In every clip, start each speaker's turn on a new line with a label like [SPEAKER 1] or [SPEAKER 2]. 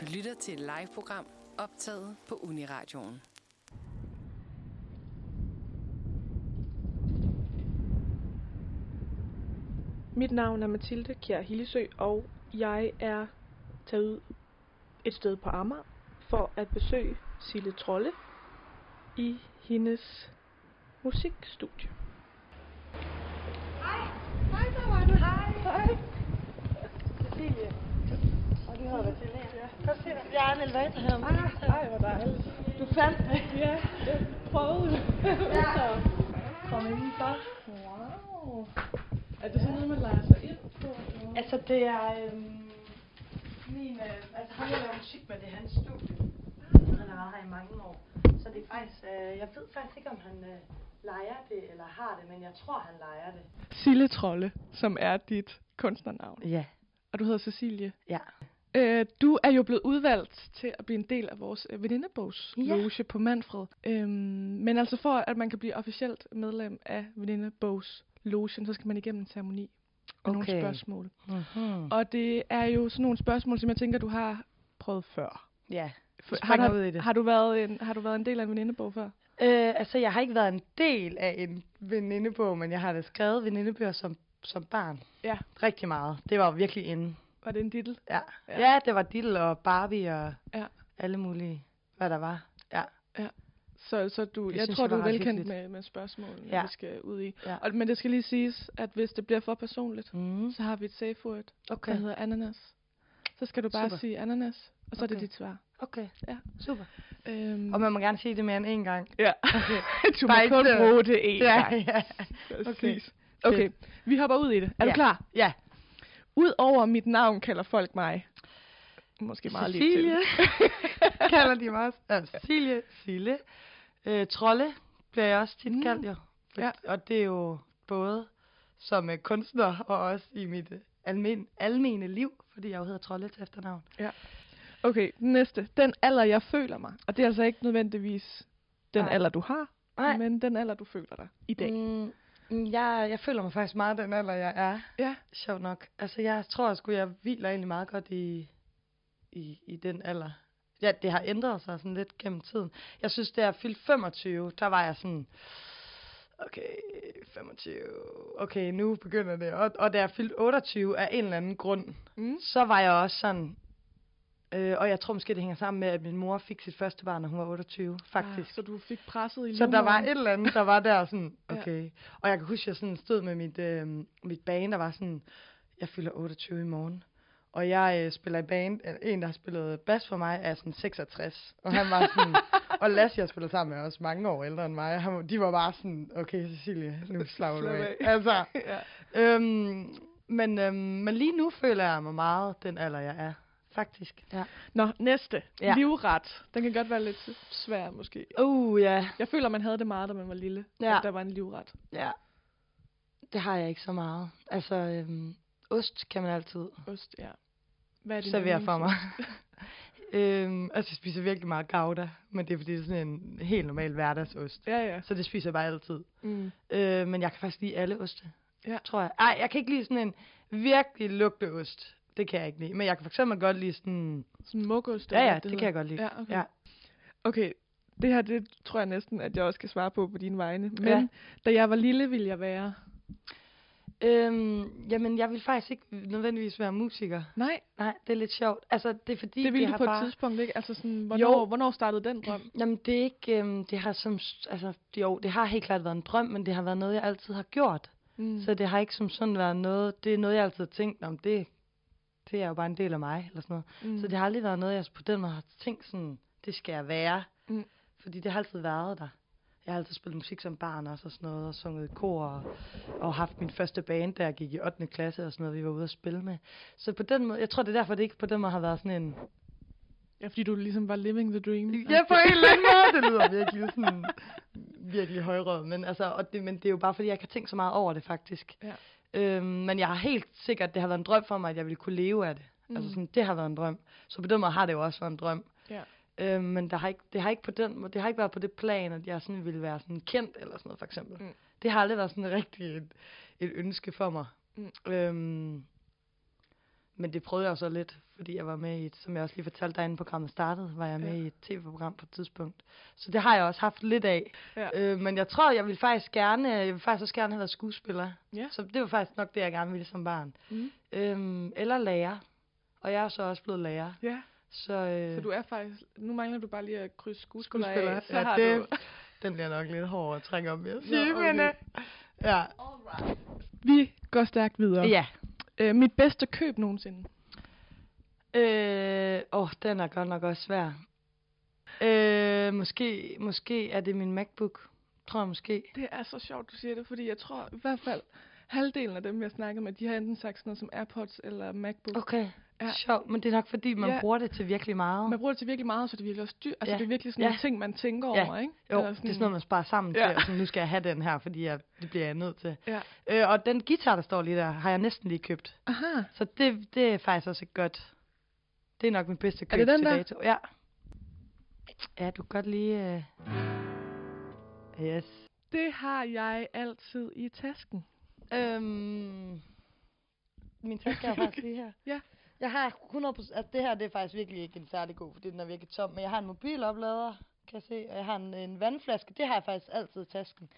[SPEAKER 1] Du lytter til et live-program optaget på Uniradioen.
[SPEAKER 2] Mit navn er Mathilde Kjær Hillesø, og jeg er taget ud et sted på Amager for at besøge Sille Trolle i hendes musikstudie.
[SPEAKER 3] Hej. Hej, så var du. Hej. Hej. Cecilie. Og du hedder Cecilie. Ja. Kom se, jeg er en elevator her. Ah, hej, hvor dejligt. Du fandt det. Ja, jeg prøvede. ja. Kom indenfor. Wow. Er det sådan noget, man leger sig ind på? Altså, det er... Øhm, min, øh, altså, han har lavet musik med det er hans studie. altså, Han har øh, været her i mange år. Så det er faktisk... Øh, jeg ved faktisk ikke, om han øh, leger det eller har det, men jeg tror, han leger det.
[SPEAKER 2] Sille Trolle, som er dit kunstnernavn,
[SPEAKER 4] Ja,
[SPEAKER 2] og du hedder Cecilie.
[SPEAKER 4] ja.
[SPEAKER 2] Øh, du er jo blevet udvalgt til at blive en del af vores øh, venindebogsloge ja. på Manfred. Øhm, men altså for, at man kan blive officielt medlem af venindebogslogen, så skal man igennem en ceremoni med nogle
[SPEAKER 4] Okay.
[SPEAKER 2] spørgsmål.
[SPEAKER 4] Mm-hmm.
[SPEAKER 2] Og det er jo sådan nogle spørgsmål, som jeg tænker, du har prøvet før.
[SPEAKER 4] Ja,
[SPEAKER 2] For,
[SPEAKER 4] Du
[SPEAKER 2] har,
[SPEAKER 4] springer
[SPEAKER 2] du,
[SPEAKER 4] ud i det.
[SPEAKER 2] har, du været en, har du været en del af en venindebog før?
[SPEAKER 4] øh, altså jeg har ikke været en del af en venindebog, men jeg har da skrevet venindebøger som, som barn.
[SPEAKER 2] Ja.
[SPEAKER 4] Rigtig meget. Det var virkelig inde.
[SPEAKER 2] Var det en titel?
[SPEAKER 4] Ja.
[SPEAKER 2] Ja.
[SPEAKER 4] ja. ja det var Dill og Barbie og
[SPEAKER 2] Ja.
[SPEAKER 4] ja. alle mulige, hvad der var. Ja.
[SPEAKER 2] Så, så du,
[SPEAKER 4] Det
[SPEAKER 2] jeg
[SPEAKER 4] synes
[SPEAKER 2] tror,
[SPEAKER 4] jeg
[SPEAKER 2] du
[SPEAKER 4] var
[SPEAKER 2] er
[SPEAKER 4] ret
[SPEAKER 2] velkendt
[SPEAKER 4] hyggeligt.
[SPEAKER 2] med, med spørgsmålene, ja.
[SPEAKER 4] Ja.
[SPEAKER 2] vi skal ud i.
[SPEAKER 4] Ja.
[SPEAKER 2] Og, men det skal lige siges, at hvis det bliver for personligt,
[SPEAKER 4] Mm.
[SPEAKER 2] så har vi et safe word, der
[SPEAKER 4] Okay.
[SPEAKER 2] hedder ananas. Så skal du bare Super.
[SPEAKER 4] Super.
[SPEAKER 2] sige ananas, og så okay. er det
[SPEAKER 4] Okay.
[SPEAKER 2] dit svar.
[SPEAKER 4] Okay.
[SPEAKER 2] Ja.
[SPEAKER 4] Super.
[SPEAKER 2] Øhm,
[SPEAKER 4] Og man må gerne sige det mere end én gang.
[SPEAKER 2] ja.
[SPEAKER 4] Okay.
[SPEAKER 2] du må
[SPEAKER 4] Bare ikke
[SPEAKER 2] kun
[SPEAKER 4] det-
[SPEAKER 2] bruge det en
[SPEAKER 4] ja,
[SPEAKER 2] gang.
[SPEAKER 4] ja. Okay.
[SPEAKER 2] Præcis. Okay. okay, vi hopper ud i det. Er du
[SPEAKER 4] Ja.
[SPEAKER 2] klar?
[SPEAKER 4] Ja.
[SPEAKER 2] Udover mit navn kalder folk mig... Måske meget lidt til.
[SPEAKER 4] Cecilie. kalder de mig også. Ja, Cecilie, Sille. Øh, trolle bliver jeg også tit
[SPEAKER 2] Mm.
[SPEAKER 4] mm. kaldt, jo.
[SPEAKER 2] Ja.
[SPEAKER 4] Ja. Og det er jo både som øh, kunstner og også i mit øh, almen, almene liv, fordi jeg jo hedder Trolle til efternavn.
[SPEAKER 2] Okay, næste. Den alder, jeg føler mig. Og det er altså ikke nødvendigvis den
[SPEAKER 4] Nej.
[SPEAKER 2] alder, du har,
[SPEAKER 4] Nej.
[SPEAKER 2] men den alder, du føler dig i dag.
[SPEAKER 4] Mm, mm, jeg, jeg føler mig faktisk meget den alder, jeg er.
[SPEAKER 2] Ja.
[SPEAKER 4] Sjov nok. Altså, jeg tror sgu, jeg hviler egentlig meget godt i, i, i den alder. Ja, det har ændret sig sådan lidt gennem tiden. Jeg synes, da jeg fyldte 25, der var jeg sådan, okay, 25, okay, nu begynder det. Og, og da jeg fyldte 28 af en eller anden grund,
[SPEAKER 2] Mm.
[SPEAKER 4] så var jeg også sådan, øh, og jeg tror måske, det hænger sammen med, at min mor fik sit første barn, når hun var 28, faktisk.
[SPEAKER 2] Ah, så du fik presset i
[SPEAKER 4] Så der var et
[SPEAKER 2] livmoderen.
[SPEAKER 4] eller andet, der var der sådan,
[SPEAKER 2] Ja.
[SPEAKER 4] okay. Og jeg kan huske, jeg sådan stod med mit, øh, mit band, der var sådan, jeg fylder 28 i morgen. Og jeg øh, spiller i band, øh, en der har spillet bas for mig, er sådan 66. Og han var sådan, og Lasse, jeg spillede sammen med, er også mange år ældre end mig. Han, var- de var bare sådan, okay Cecilie, nu slapper du
[SPEAKER 2] Slap
[SPEAKER 4] af.
[SPEAKER 2] af.
[SPEAKER 4] Altså,
[SPEAKER 2] ja.
[SPEAKER 4] øhm, men, øhm, men lige nu føler jeg mig meget den alder, jeg er. Faktisk. Ja.
[SPEAKER 2] Nå, næste. Ja.
[SPEAKER 4] Ja.
[SPEAKER 2] Livret. Den kan godt være lidt svær, måske.
[SPEAKER 4] Uh, ja.
[SPEAKER 2] Jeg føler, man havde det meget, da man var lille.
[SPEAKER 4] Ja.
[SPEAKER 2] At der var en livret.
[SPEAKER 4] Ja. Det har jeg ikke så meget. Altså, øhm, ost kan man altid
[SPEAKER 2] Ost, ja. Hvad er din
[SPEAKER 4] servere for
[SPEAKER 2] yndlingsost?
[SPEAKER 4] mig. øhm, altså, jeg spiser virkelig meget gouda, men det er fordi, det er sådan en helt normal hverdagsost.
[SPEAKER 2] Ja, ja.
[SPEAKER 4] Så det spiser jeg bare altid.
[SPEAKER 2] Mm.
[SPEAKER 4] Øh, men jeg kan faktisk lide alle oste,
[SPEAKER 2] Ja.
[SPEAKER 4] tror jeg. Ej, jeg kan ikke lide sådan en virkelig lugteost. Det kan jeg ikke lide. Men jeg kan for eksempel godt lide sådan...
[SPEAKER 2] Sådan mokost.
[SPEAKER 4] Ja,
[SPEAKER 2] eller
[SPEAKER 4] ja,
[SPEAKER 2] hvad
[SPEAKER 4] det kan jeg godt lide.
[SPEAKER 2] Ja, okay.
[SPEAKER 4] Ja.
[SPEAKER 2] Okay, det her, det tror jeg næsten, at jeg også kan svare på på dine vegne. Men ja.
[SPEAKER 4] Ja.
[SPEAKER 2] da jeg var lille, ville jeg være...
[SPEAKER 4] Øhm, jamen, jeg vil faktisk ikke nødvendigvis være musiker.
[SPEAKER 2] Nej,
[SPEAKER 4] Nej, det er lidt sjovt. Altså, det er fordi,
[SPEAKER 2] det ville
[SPEAKER 4] vi
[SPEAKER 2] du
[SPEAKER 4] har
[SPEAKER 2] på et
[SPEAKER 4] bare...
[SPEAKER 2] tidspunkt, ikke? Altså sådan, hvornår, jo. hvornår startede den drøm?
[SPEAKER 4] Jamen, det er ikke, øhm, det har som, altså, jo, det har helt klart været en drøm, men det har været noget, jeg altid har gjort.
[SPEAKER 2] Mm.
[SPEAKER 4] Mm. Så det har ikke som sådan været noget, det er noget, jeg altid har tænkt om, det, det er jo bare en del af mig, eller sådan noget. Mm. Så det har aldrig været noget, jeg på den måde har tænkt sådan, det skal jeg være.
[SPEAKER 2] Mm.
[SPEAKER 4] Fordi det har altid været der. Jeg har altid spillet musik som barn også, og sådan noget, og sunget i kor, og, og haft min første band, da jeg gik i 8. klasse, og sådan noget, vi var ude at spille med. Så på den måde, jeg tror, det er derfor, det ikke på den måde har været sådan en,
[SPEAKER 2] Ja, fordi du ligesom var living the dream.
[SPEAKER 4] Ja, på en eller anden måde. Det lyder virkelig sådan, virkelig højrød. Men, altså, og det, men det er jo bare, fordi jeg ikke har tænkt så meget over det, faktisk.
[SPEAKER 2] Ja.
[SPEAKER 4] Øhm, men jeg har helt sikkert, det har været en drøm for mig, at jeg ville kunne leve af det. Mm. Altså sådan, det har været en drøm. Så på den måde har det jo også været en drøm.
[SPEAKER 2] Ja.
[SPEAKER 4] Øhm, men der har ikke, det, har ikke på den, måde- det har ikke været på det plan, at jeg sådan ville være sådan kendt eller sådan noget, for eksempel.
[SPEAKER 2] Mm.
[SPEAKER 4] Mm. Det har aldrig været sådan rigtig et, et ønske for mig.
[SPEAKER 2] Mm.
[SPEAKER 4] Øhm, Men det prøvede jeg jo så lidt, fordi jeg var med i et, som jeg også lige fortalte dig, inden programmet startede, var jeg med ja. i et tv-program på et tidspunkt. Så det har jeg også haft lidt af.
[SPEAKER 2] Ja.
[SPEAKER 4] Øh, men jeg tror, jeg ville faktisk gerne, jeg ville faktisk også gerne have været skuespiller.
[SPEAKER 2] Ja.
[SPEAKER 4] Så det var faktisk nok det, jeg gerne ville som barn.
[SPEAKER 2] Mhm.
[SPEAKER 4] Øhm, eller lærer. Og jeg er så også blevet lærer.
[SPEAKER 2] Ja,
[SPEAKER 4] Så, øh,
[SPEAKER 2] så du er faktisk... Nu mangler du bare lige at krydse skuespiller,
[SPEAKER 4] skuespiller.
[SPEAKER 2] af, så
[SPEAKER 4] ja,
[SPEAKER 2] har
[SPEAKER 4] det,
[SPEAKER 2] du...
[SPEAKER 4] den bliver nok lidt hårdere at trække om, vil jeg
[SPEAKER 2] Nå,
[SPEAKER 4] sige. men,
[SPEAKER 2] okay.
[SPEAKER 4] øh, ja.
[SPEAKER 2] Vi går stærkt videre.
[SPEAKER 4] ja.
[SPEAKER 2] Øh, mit bedste køb nogensinde.
[SPEAKER 4] Øh, åh, den er godt nok også svær. Øh, måske, måske er det min MacBook. Tror jeg måske.
[SPEAKER 2] Det er så sjovt, du siger det, fordi jeg tror i hvert fald, halvdelen af dem, jeg snakker med, de har enten sagt sådan noget som AirPods eller MacBook.
[SPEAKER 4] Okay,
[SPEAKER 2] Ja.
[SPEAKER 4] ja. sjovt. Men det er nok fordi, man
[SPEAKER 2] Ja.
[SPEAKER 4] ja. bruger det til virkelig meget.
[SPEAKER 2] Man bruger det til virkelig meget, så det er virkelig også dyrt. Altså,
[SPEAKER 4] Ja.
[SPEAKER 2] det er virkelig sådan nogle
[SPEAKER 4] Ja.
[SPEAKER 2] ting, man tænker
[SPEAKER 4] Ja.
[SPEAKER 2] over, ikke?
[SPEAKER 4] jo, det
[SPEAKER 2] Eller
[SPEAKER 4] er sådan noget, man sparer sammen
[SPEAKER 2] Ja.
[SPEAKER 4] til. Og sådan, nu skal jeg have den her, fordi jeg, det bliver jeg nødt til.
[SPEAKER 2] Ja.
[SPEAKER 4] Øh, og den guitar, der står lige der, har jeg næsten lige købt.
[SPEAKER 2] Aha.
[SPEAKER 4] Så det, det er faktisk også et godt. Det er nok min bedste køb
[SPEAKER 2] Er det den
[SPEAKER 4] til
[SPEAKER 2] der?
[SPEAKER 4] dato. Ja. Ja, du kan godt lige... Øh... Yes.
[SPEAKER 2] Det har jeg altid i tasken.
[SPEAKER 4] Øhm, min taske er faktisk lige her.
[SPEAKER 2] Ja.
[SPEAKER 4] Jeg har 100%, altså det her det er faktisk virkelig ikke en særlig god, fordi den er virkelig tom, men jeg har en mobiloplader, kan jeg se, og jeg har en, en vandflaske, det har jeg faktisk altid i tasken,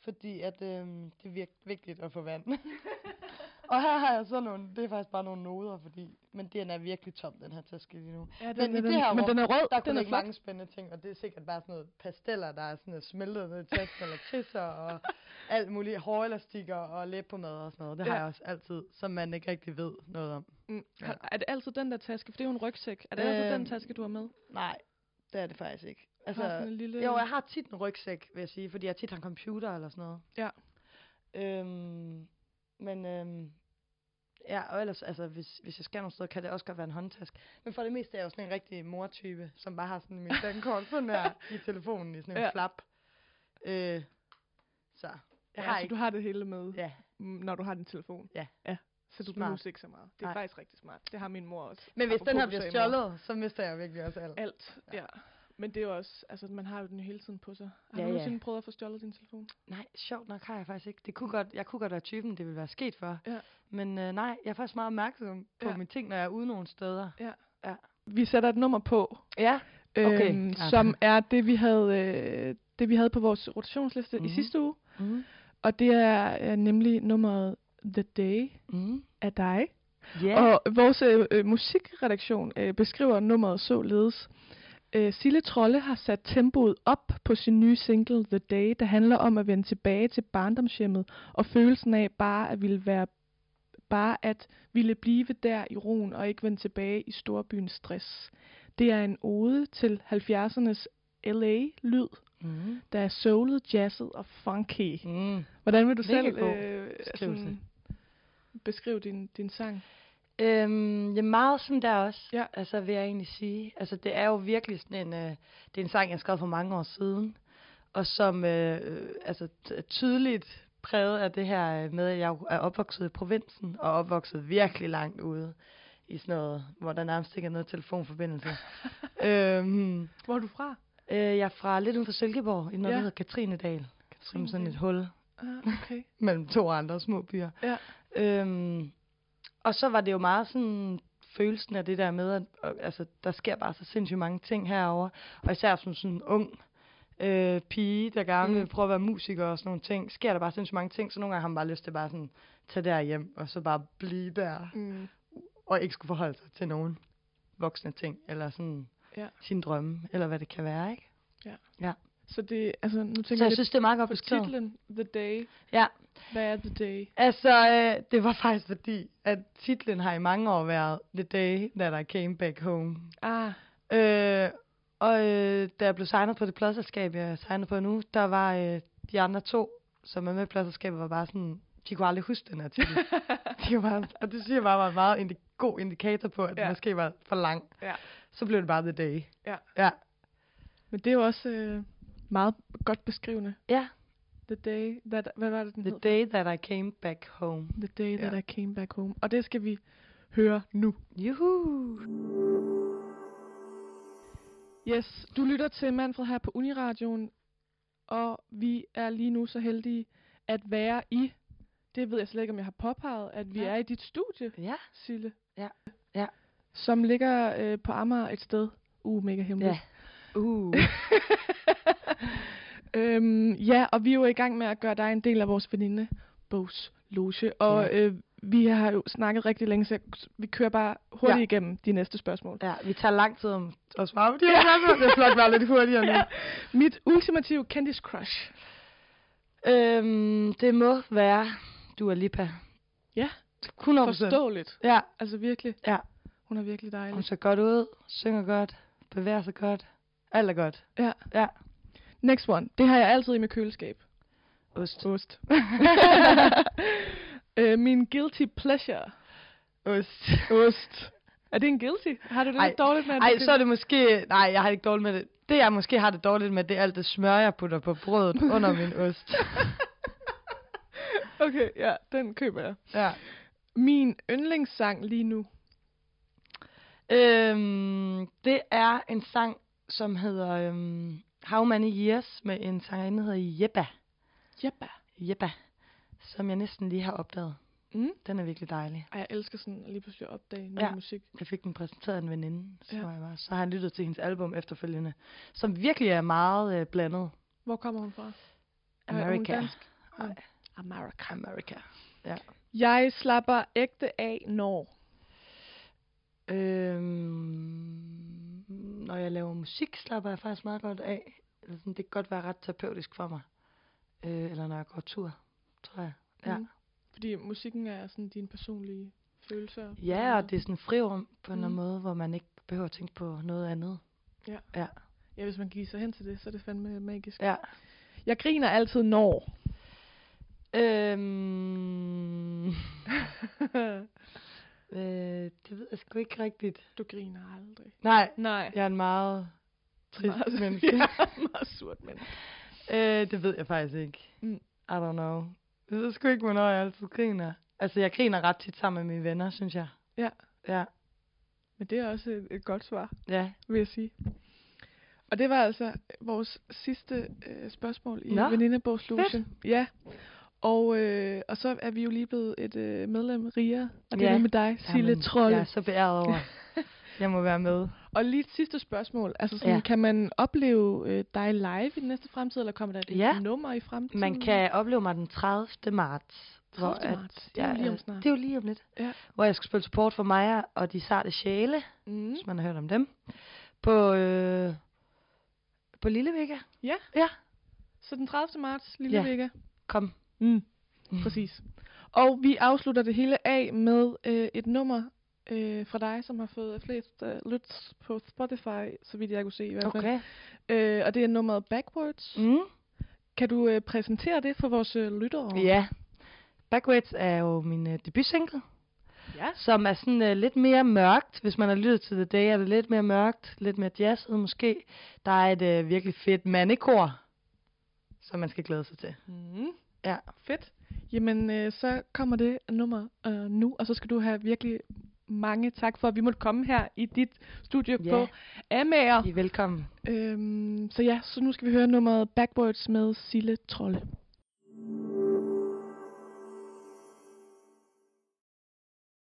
[SPEAKER 4] fordi at, øhm, det er virk- vigtigt at få vand. og her har jeg så nogle, det er faktisk bare nogle noder, fordi, men den er virkelig tom, den her taske lige nu.
[SPEAKER 2] Ja,
[SPEAKER 4] Men i det her
[SPEAKER 2] men
[SPEAKER 4] rum,
[SPEAKER 2] den er rød.
[SPEAKER 4] Der kunne
[SPEAKER 2] den er
[SPEAKER 4] ligge mange spændende ting, og det er sikkert bare sådan noget pasteller, der er sådan noget smeltet ned i tasken, eller tisser, og alt muligt hårelastikker og læbepomade og sådan noget. Det ja.
[SPEAKER 2] Ja.
[SPEAKER 4] har jeg også altid, som man ikke rigtig ved noget om.
[SPEAKER 2] Mm.
[SPEAKER 4] Ja.
[SPEAKER 2] Har- Er det altid den der taske? For det er jo en rygsæk. Er det altid
[SPEAKER 4] Øhm,
[SPEAKER 2] den taske, du har med?
[SPEAKER 4] Nej, det er det faktisk ikke.
[SPEAKER 2] Altså, har sådan en lille...
[SPEAKER 4] Jo, jeg har tit en rygsæk, vil jeg sige, fordi jeg tit har en computer eller sådan noget.
[SPEAKER 2] Ja.
[SPEAKER 4] Øhm, men øhm, ja, og ellers, altså, hvis, hvis jeg skal nogle steder, kan det også godt være en håndtaske. Men for det meste er jeg jo sådan en rigtig mortype, som bare har sådan min dankort sådan her i telefonen i sådan en
[SPEAKER 2] Ja.
[SPEAKER 4] ja. flap. Øh, så jeg
[SPEAKER 2] ja,
[SPEAKER 4] har
[SPEAKER 2] så
[SPEAKER 4] ikke...
[SPEAKER 2] du har det hele med,
[SPEAKER 4] Ja,
[SPEAKER 2] mm, når du har din telefon.
[SPEAKER 4] Ja.
[SPEAKER 2] ja. Så du
[SPEAKER 4] Smart.
[SPEAKER 2] behøver ikke så meget. Det er
[SPEAKER 4] Nej.
[SPEAKER 2] faktisk rigtig smart. Det har min mor også.
[SPEAKER 4] men hvis den
[SPEAKER 2] Apropos,
[SPEAKER 4] her
[SPEAKER 2] du
[SPEAKER 4] bliver
[SPEAKER 2] sagde mor.
[SPEAKER 4] stjålet, så mister jeg virkelig også alt.
[SPEAKER 2] Alt, ja.
[SPEAKER 4] Ja.
[SPEAKER 2] ja. Men det er jo også, altså man har jo den hele tiden på sig. Har
[SPEAKER 4] Ja,
[SPEAKER 2] du
[SPEAKER 4] ja.
[SPEAKER 2] nogensinde prøvet at få stjålet din telefon?
[SPEAKER 4] Nej, sjovt nok har jeg faktisk ikke. Det kunne godt, jeg kunne godt være typen, det ville være sket for.
[SPEAKER 2] Ja.
[SPEAKER 4] Men øh, nej, jeg er faktisk meget opmærksom på
[SPEAKER 2] Ja.
[SPEAKER 4] ja. mine ting, når jeg er ude nogle steder.
[SPEAKER 2] Vi sætter et nummer på,
[SPEAKER 4] Ja. Okay.
[SPEAKER 2] øhm,
[SPEAKER 4] Ja.
[SPEAKER 2] som er det vi havde øh, det vi havde på vores rotationsliste mm. i
[SPEAKER 4] Mhm.
[SPEAKER 2] sidste uge,
[SPEAKER 4] Mm.
[SPEAKER 2] og det er, er nemlig nummeret The Day
[SPEAKER 4] Mm.
[SPEAKER 2] af dig.
[SPEAKER 4] Ja.
[SPEAKER 2] Ja. Og vores øh, øh, musikredaktion øh, beskriver nummeret således. Øh, Sille Trolle har sat tempoet op på sin nye single The Day, der handler om at vende tilbage til barndomshjemmet og følelsen af bare at ville være bare at ville blive der i roen og ikke vende tilbage i storbyens stress. Det er en ode til 70'ernes LA-lyd,
[SPEAKER 4] Mm.
[SPEAKER 2] der er soulet, jazzet og funky.
[SPEAKER 4] Mm.
[SPEAKER 2] Hvordan vil du
[SPEAKER 4] Mega
[SPEAKER 2] selv
[SPEAKER 4] god
[SPEAKER 2] øh,
[SPEAKER 4] beskrivelse.
[SPEAKER 2] sådan, beskrive din, din sang?
[SPEAKER 4] Øhm, ja, meget sådan der også,
[SPEAKER 2] Ja.
[SPEAKER 4] altså vil jeg egentlig sige. Altså det er jo virkelig sådan en, øh, det er en sang, jeg skrev for mange år siden, og som øh, øh, altså, t- er tydeligt præget af det her øh, med, at jeg jo er opvokset i provinsen, og opvokset virkelig langt ude i sådan noget, hvor der nærmest ikke er noget telefonforbindelse. øhm,
[SPEAKER 2] Hvor er du fra?
[SPEAKER 4] øh, jeg er fra lidt uden for Silkeborg, i noget,
[SPEAKER 2] Ja.
[SPEAKER 4] ja. der hedder Katrinedal, som sådan et
[SPEAKER 2] Katrinedal.
[SPEAKER 4] hul
[SPEAKER 2] Ah, okay.
[SPEAKER 4] mellem to andre små byer.
[SPEAKER 2] Ja.
[SPEAKER 4] Øhm, og så var det jo meget sådan følelsen af det der med, at og, altså, der sker bare så sindssygt mange ting herover Og især som sådan en ung øh, pige, der gerne vil
[SPEAKER 2] Mm.
[SPEAKER 4] prøve at være musiker og sådan nogle ting, sker der bare sindssygt mange ting, så nogle gange har man bare lyst til bare sådan, tage der hjem og så bare blive der,
[SPEAKER 2] Mm.
[SPEAKER 4] og ikke skulle forholde sig til nogen voksne ting, eller sådan
[SPEAKER 2] Ja.
[SPEAKER 4] sin drømme, eller hvad det kan være, ikke?
[SPEAKER 2] Så det, altså, nu
[SPEAKER 4] Så
[SPEAKER 2] tænker
[SPEAKER 4] jeg
[SPEAKER 2] jeg, lidt
[SPEAKER 4] synes, det er meget godt
[SPEAKER 2] på
[SPEAKER 4] beskrevet.
[SPEAKER 2] titlen, The Day.
[SPEAKER 4] Ja.
[SPEAKER 2] Hvad er The Day?
[SPEAKER 4] Altså, øh, det var faktisk fordi, at titlen har i mange år været The Day That I Came Back Home.
[SPEAKER 2] Ah,
[SPEAKER 4] Øh, og øh, da jeg blev signet på det pladselskab, jeg er signet på nu, der var øh, de andre to, som er med i pladselskabet, var bare sådan, de kunne aldrig huske den her titel. de var bare, og det siger jeg bare var en meget indi- god indikator på, at ja.
[SPEAKER 2] Ja.
[SPEAKER 4] den måske var for lang.
[SPEAKER 2] Ja.
[SPEAKER 4] Så blev det bare The Day.
[SPEAKER 2] men det er jo også øh, meget godt beskrivende.
[SPEAKER 4] Ja,
[SPEAKER 2] The Day, that, hvad var det, den
[SPEAKER 4] The
[SPEAKER 2] hed?
[SPEAKER 4] Day That I Came Back Home.
[SPEAKER 2] The Day, that
[SPEAKER 4] Ja.
[SPEAKER 2] I came back home. Og det skal vi høre nu.
[SPEAKER 4] Juhu!
[SPEAKER 2] Yes, du lytter til Manfred her på Uniradioen, og vi er lige nu så heldige at være i, det ved jeg slet ikke, om jeg har påpeget, at vi
[SPEAKER 4] Nej.
[SPEAKER 2] er i dit studie,
[SPEAKER 4] Ja,
[SPEAKER 2] Sille.
[SPEAKER 4] Ja, ja.
[SPEAKER 2] Som ligger øh, på Amager et sted. Uh, mega hemmeligt.
[SPEAKER 4] Ja. Uh.
[SPEAKER 2] Øhm, ja, og vi er jo i gang med at gøre dig en del af vores veninde Bogs Loge. Og ja. øh, vi har jo snakket rigtig længe, så vi kører bare hurtigt ja.
[SPEAKER 4] Ja.
[SPEAKER 2] igennem de næste spørgsmål.
[SPEAKER 4] ja, vi tager lang tid om at svare på de her spørgsmål. Det er flot at være lidt hurtigere nu.
[SPEAKER 2] Ja. Mit ultimative Candice Crush.
[SPEAKER 4] Øhm, det må være Dua Lipa.
[SPEAKER 2] Ja.
[SPEAKER 4] 100
[SPEAKER 2] Forståeligt.
[SPEAKER 4] Ja,
[SPEAKER 2] Altså virkelig.
[SPEAKER 4] Ja.
[SPEAKER 2] Hun er virkelig
[SPEAKER 4] hun
[SPEAKER 2] dejlig.
[SPEAKER 4] ser godt ud, synger godt, bevæger sig godt. Alt er godt.
[SPEAKER 2] Ja.
[SPEAKER 4] Ja.
[SPEAKER 2] Next one. Det har jeg altid i mit køleskab.
[SPEAKER 4] Ost.
[SPEAKER 2] Ost. øh, min guilty pleasure.
[SPEAKER 4] Ost.
[SPEAKER 2] Ost. Er det en guilty? Har du det
[SPEAKER 4] Ej.
[SPEAKER 2] lidt dårligt med? at du
[SPEAKER 4] Ej,
[SPEAKER 2] kan-
[SPEAKER 4] så er det måske... Nej, jeg har det ikke dårligt med det. Det, jeg måske har det dårligt med, det er alt det smør, jeg putter på brødet under min ost.
[SPEAKER 2] Okay, ja, den køber jeg.
[SPEAKER 4] Ja.
[SPEAKER 2] Min yndlingssang lige nu.
[SPEAKER 4] Øhm, det er en sang, som hedder øhm, How Many Years med en sangerinde, der hedder Jeppa.
[SPEAKER 2] Jeppa.
[SPEAKER 4] Jeppa, som jeg næsten lige har opdaget.
[SPEAKER 2] Mm.
[SPEAKER 4] Den er virkelig dejlig.
[SPEAKER 2] Ej, jeg elsker sådan at lige pludselig at opdage ny ja.
[SPEAKER 4] Ja.
[SPEAKER 2] musik.
[SPEAKER 4] Jeg fik den præsenteret af en veninde, så,
[SPEAKER 2] Ja.
[SPEAKER 4] ja. jeg var. så har han lyttet til hendes album efterfølgende, som virkelig er meget øh, blandet.
[SPEAKER 2] Hvor kommer hun fra? Er hun
[SPEAKER 4] America.
[SPEAKER 2] dansk?
[SPEAKER 4] Nej.
[SPEAKER 2] America.
[SPEAKER 4] America.
[SPEAKER 2] Jeg slapper ægte af, når...
[SPEAKER 4] Øhm, når jeg laver musik, slapper jeg faktisk meget godt af. Eller sådan, Det kan godt være ret terapeutisk for mig. Øh, eller når jeg går tur, tror jeg. Ja.
[SPEAKER 2] Mm. Fordi musikken er sådan dine personlige følelser.
[SPEAKER 4] Ja, og det er sådan frirum på en eller anden
[SPEAKER 2] Mm.
[SPEAKER 4] måde, hvor man ikke behøver at tænke på noget andet.
[SPEAKER 2] Ja, hvis man giver sig hen til det, så er det fandme magisk.
[SPEAKER 4] Ja.
[SPEAKER 2] Jeg griner altid, når...
[SPEAKER 4] Øhm, øh, det ved jeg sgu ikke rigtigt.
[SPEAKER 2] du griner aldrig.
[SPEAKER 4] Nej,
[SPEAKER 2] Nej.
[SPEAKER 4] jeg er en meget trist
[SPEAKER 2] Meget-
[SPEAKER 4] menneske.
[SPEAKER 2] Ja, meget surt menneske.
[SPEAKER 4] Øh, det ved jeg faktisk ikke.
[SPEAKER 2] Mm.
[SPEAKER 4] I don't know. Jeg ved sgu ikke, hvornår jeg altid griner. Altså, jeg griner ret tit sammen med mine venner, synes jeg.
[SPEAKER 2] Ja.
[SPEAKER 4] Ja.
[SPEAKER 2] Men det er også et, et godt svar.
[SPEAKER 4] Ja.
[SPEAKER 2] vil jeg sige. Og det var altså vores sidste øh, spørgsmål i
[SPEAKER 4] Nå,
[SPEAKER 2] Venindebogslogen. Ja. Og, øh, og så er vi jo lige blevet et øh, medlem rigere, og det er
[SPEAKER 4] Ja.
[SPEAKER 2] med dig, Sille
[SPEAKER 4] Jamen,
[SPEAKER 2] Trolle.
[SPEAKER 4] Jeg er så beæret over. jeg må være med.
[SPEAKER 2] Og lige et sidste spørgsmål. Altså sådan, ja.
[SPEAKER 4] Ja.
[SPEAKER 2] kan man opleve øh, dig live i den næste fremtid, eller kommer der et
[SPEAKER 4] Ja.
[SPEAKER 2] nummer i fremtiden?
[SPEAKER 4] Man kan opleve mig den 30. marts.
[SPEAKER 2] 30. marts. Det er jo lige om
[SPEAKER 4] øh,
[SPEAKER 2] snart.
[SPEAKER 4] Det er jo lige om lidt.
[SPEAKER 2] Ja.
[SPEAKER 4] Hvor jeg skal spille support for Maja og de sarte sjæle, mm.
[SPEAKER 2] Mm.
[SPEAKER 4] hvis man har hørt om dem. På, øh, på Lille Vega.
[SPEAKER 2] Så den 30. marts, lille
[SPEAKER 4] Ja.
[SPEAKER 2] Vega.
[SPEAKER 4] Kom.
[SPEAKER 2] Mm. Præcis. Og vi afslutter det hele af med øh, et nummer øh, fra dig, som har fået flest øh, lyt på Spotify, så vidt jeg kunne se i hvert fald.
[SPEAKER 4] Okay.
[SPEAKER 2] Øh, og det er nummeret Backwards. Mm.
[SPEAKER 4] Mm.
[SPEAKER 2] Kan du øh, præsentere det for vores øh, lyttere?
[SPEAKER 4] Ja. Backwards er jo min øh, debutsingle.
[SPEAKER 2] Ja.
[SPEAKER 4] som er sådan øh, lidt mere mørkt. Hvis man har lyttet til The Day, er det lidt mere mørkt, lidt mere jazzet måske. Der er et øh, virkelig fedt mandekor, som man skal glæde sig til.
[SPEAKER 2] Mm.
[SPEAKER 4] Ja.
[SPEAKER 2] Fedt. Jamen, øh, så kommer det nummer øh, nu, og så skal du have virkelig mange tak for, at vi måtte komme her i dit studie
[SPEAKER 4] Ja.
[SPEAKER 2] på Amager.
[SPEAKER 4] I er velkommen.
[SPEAKER 2] Øhm, så ja, så nu skal vi høre nummeret Backwards med Sille Trolle.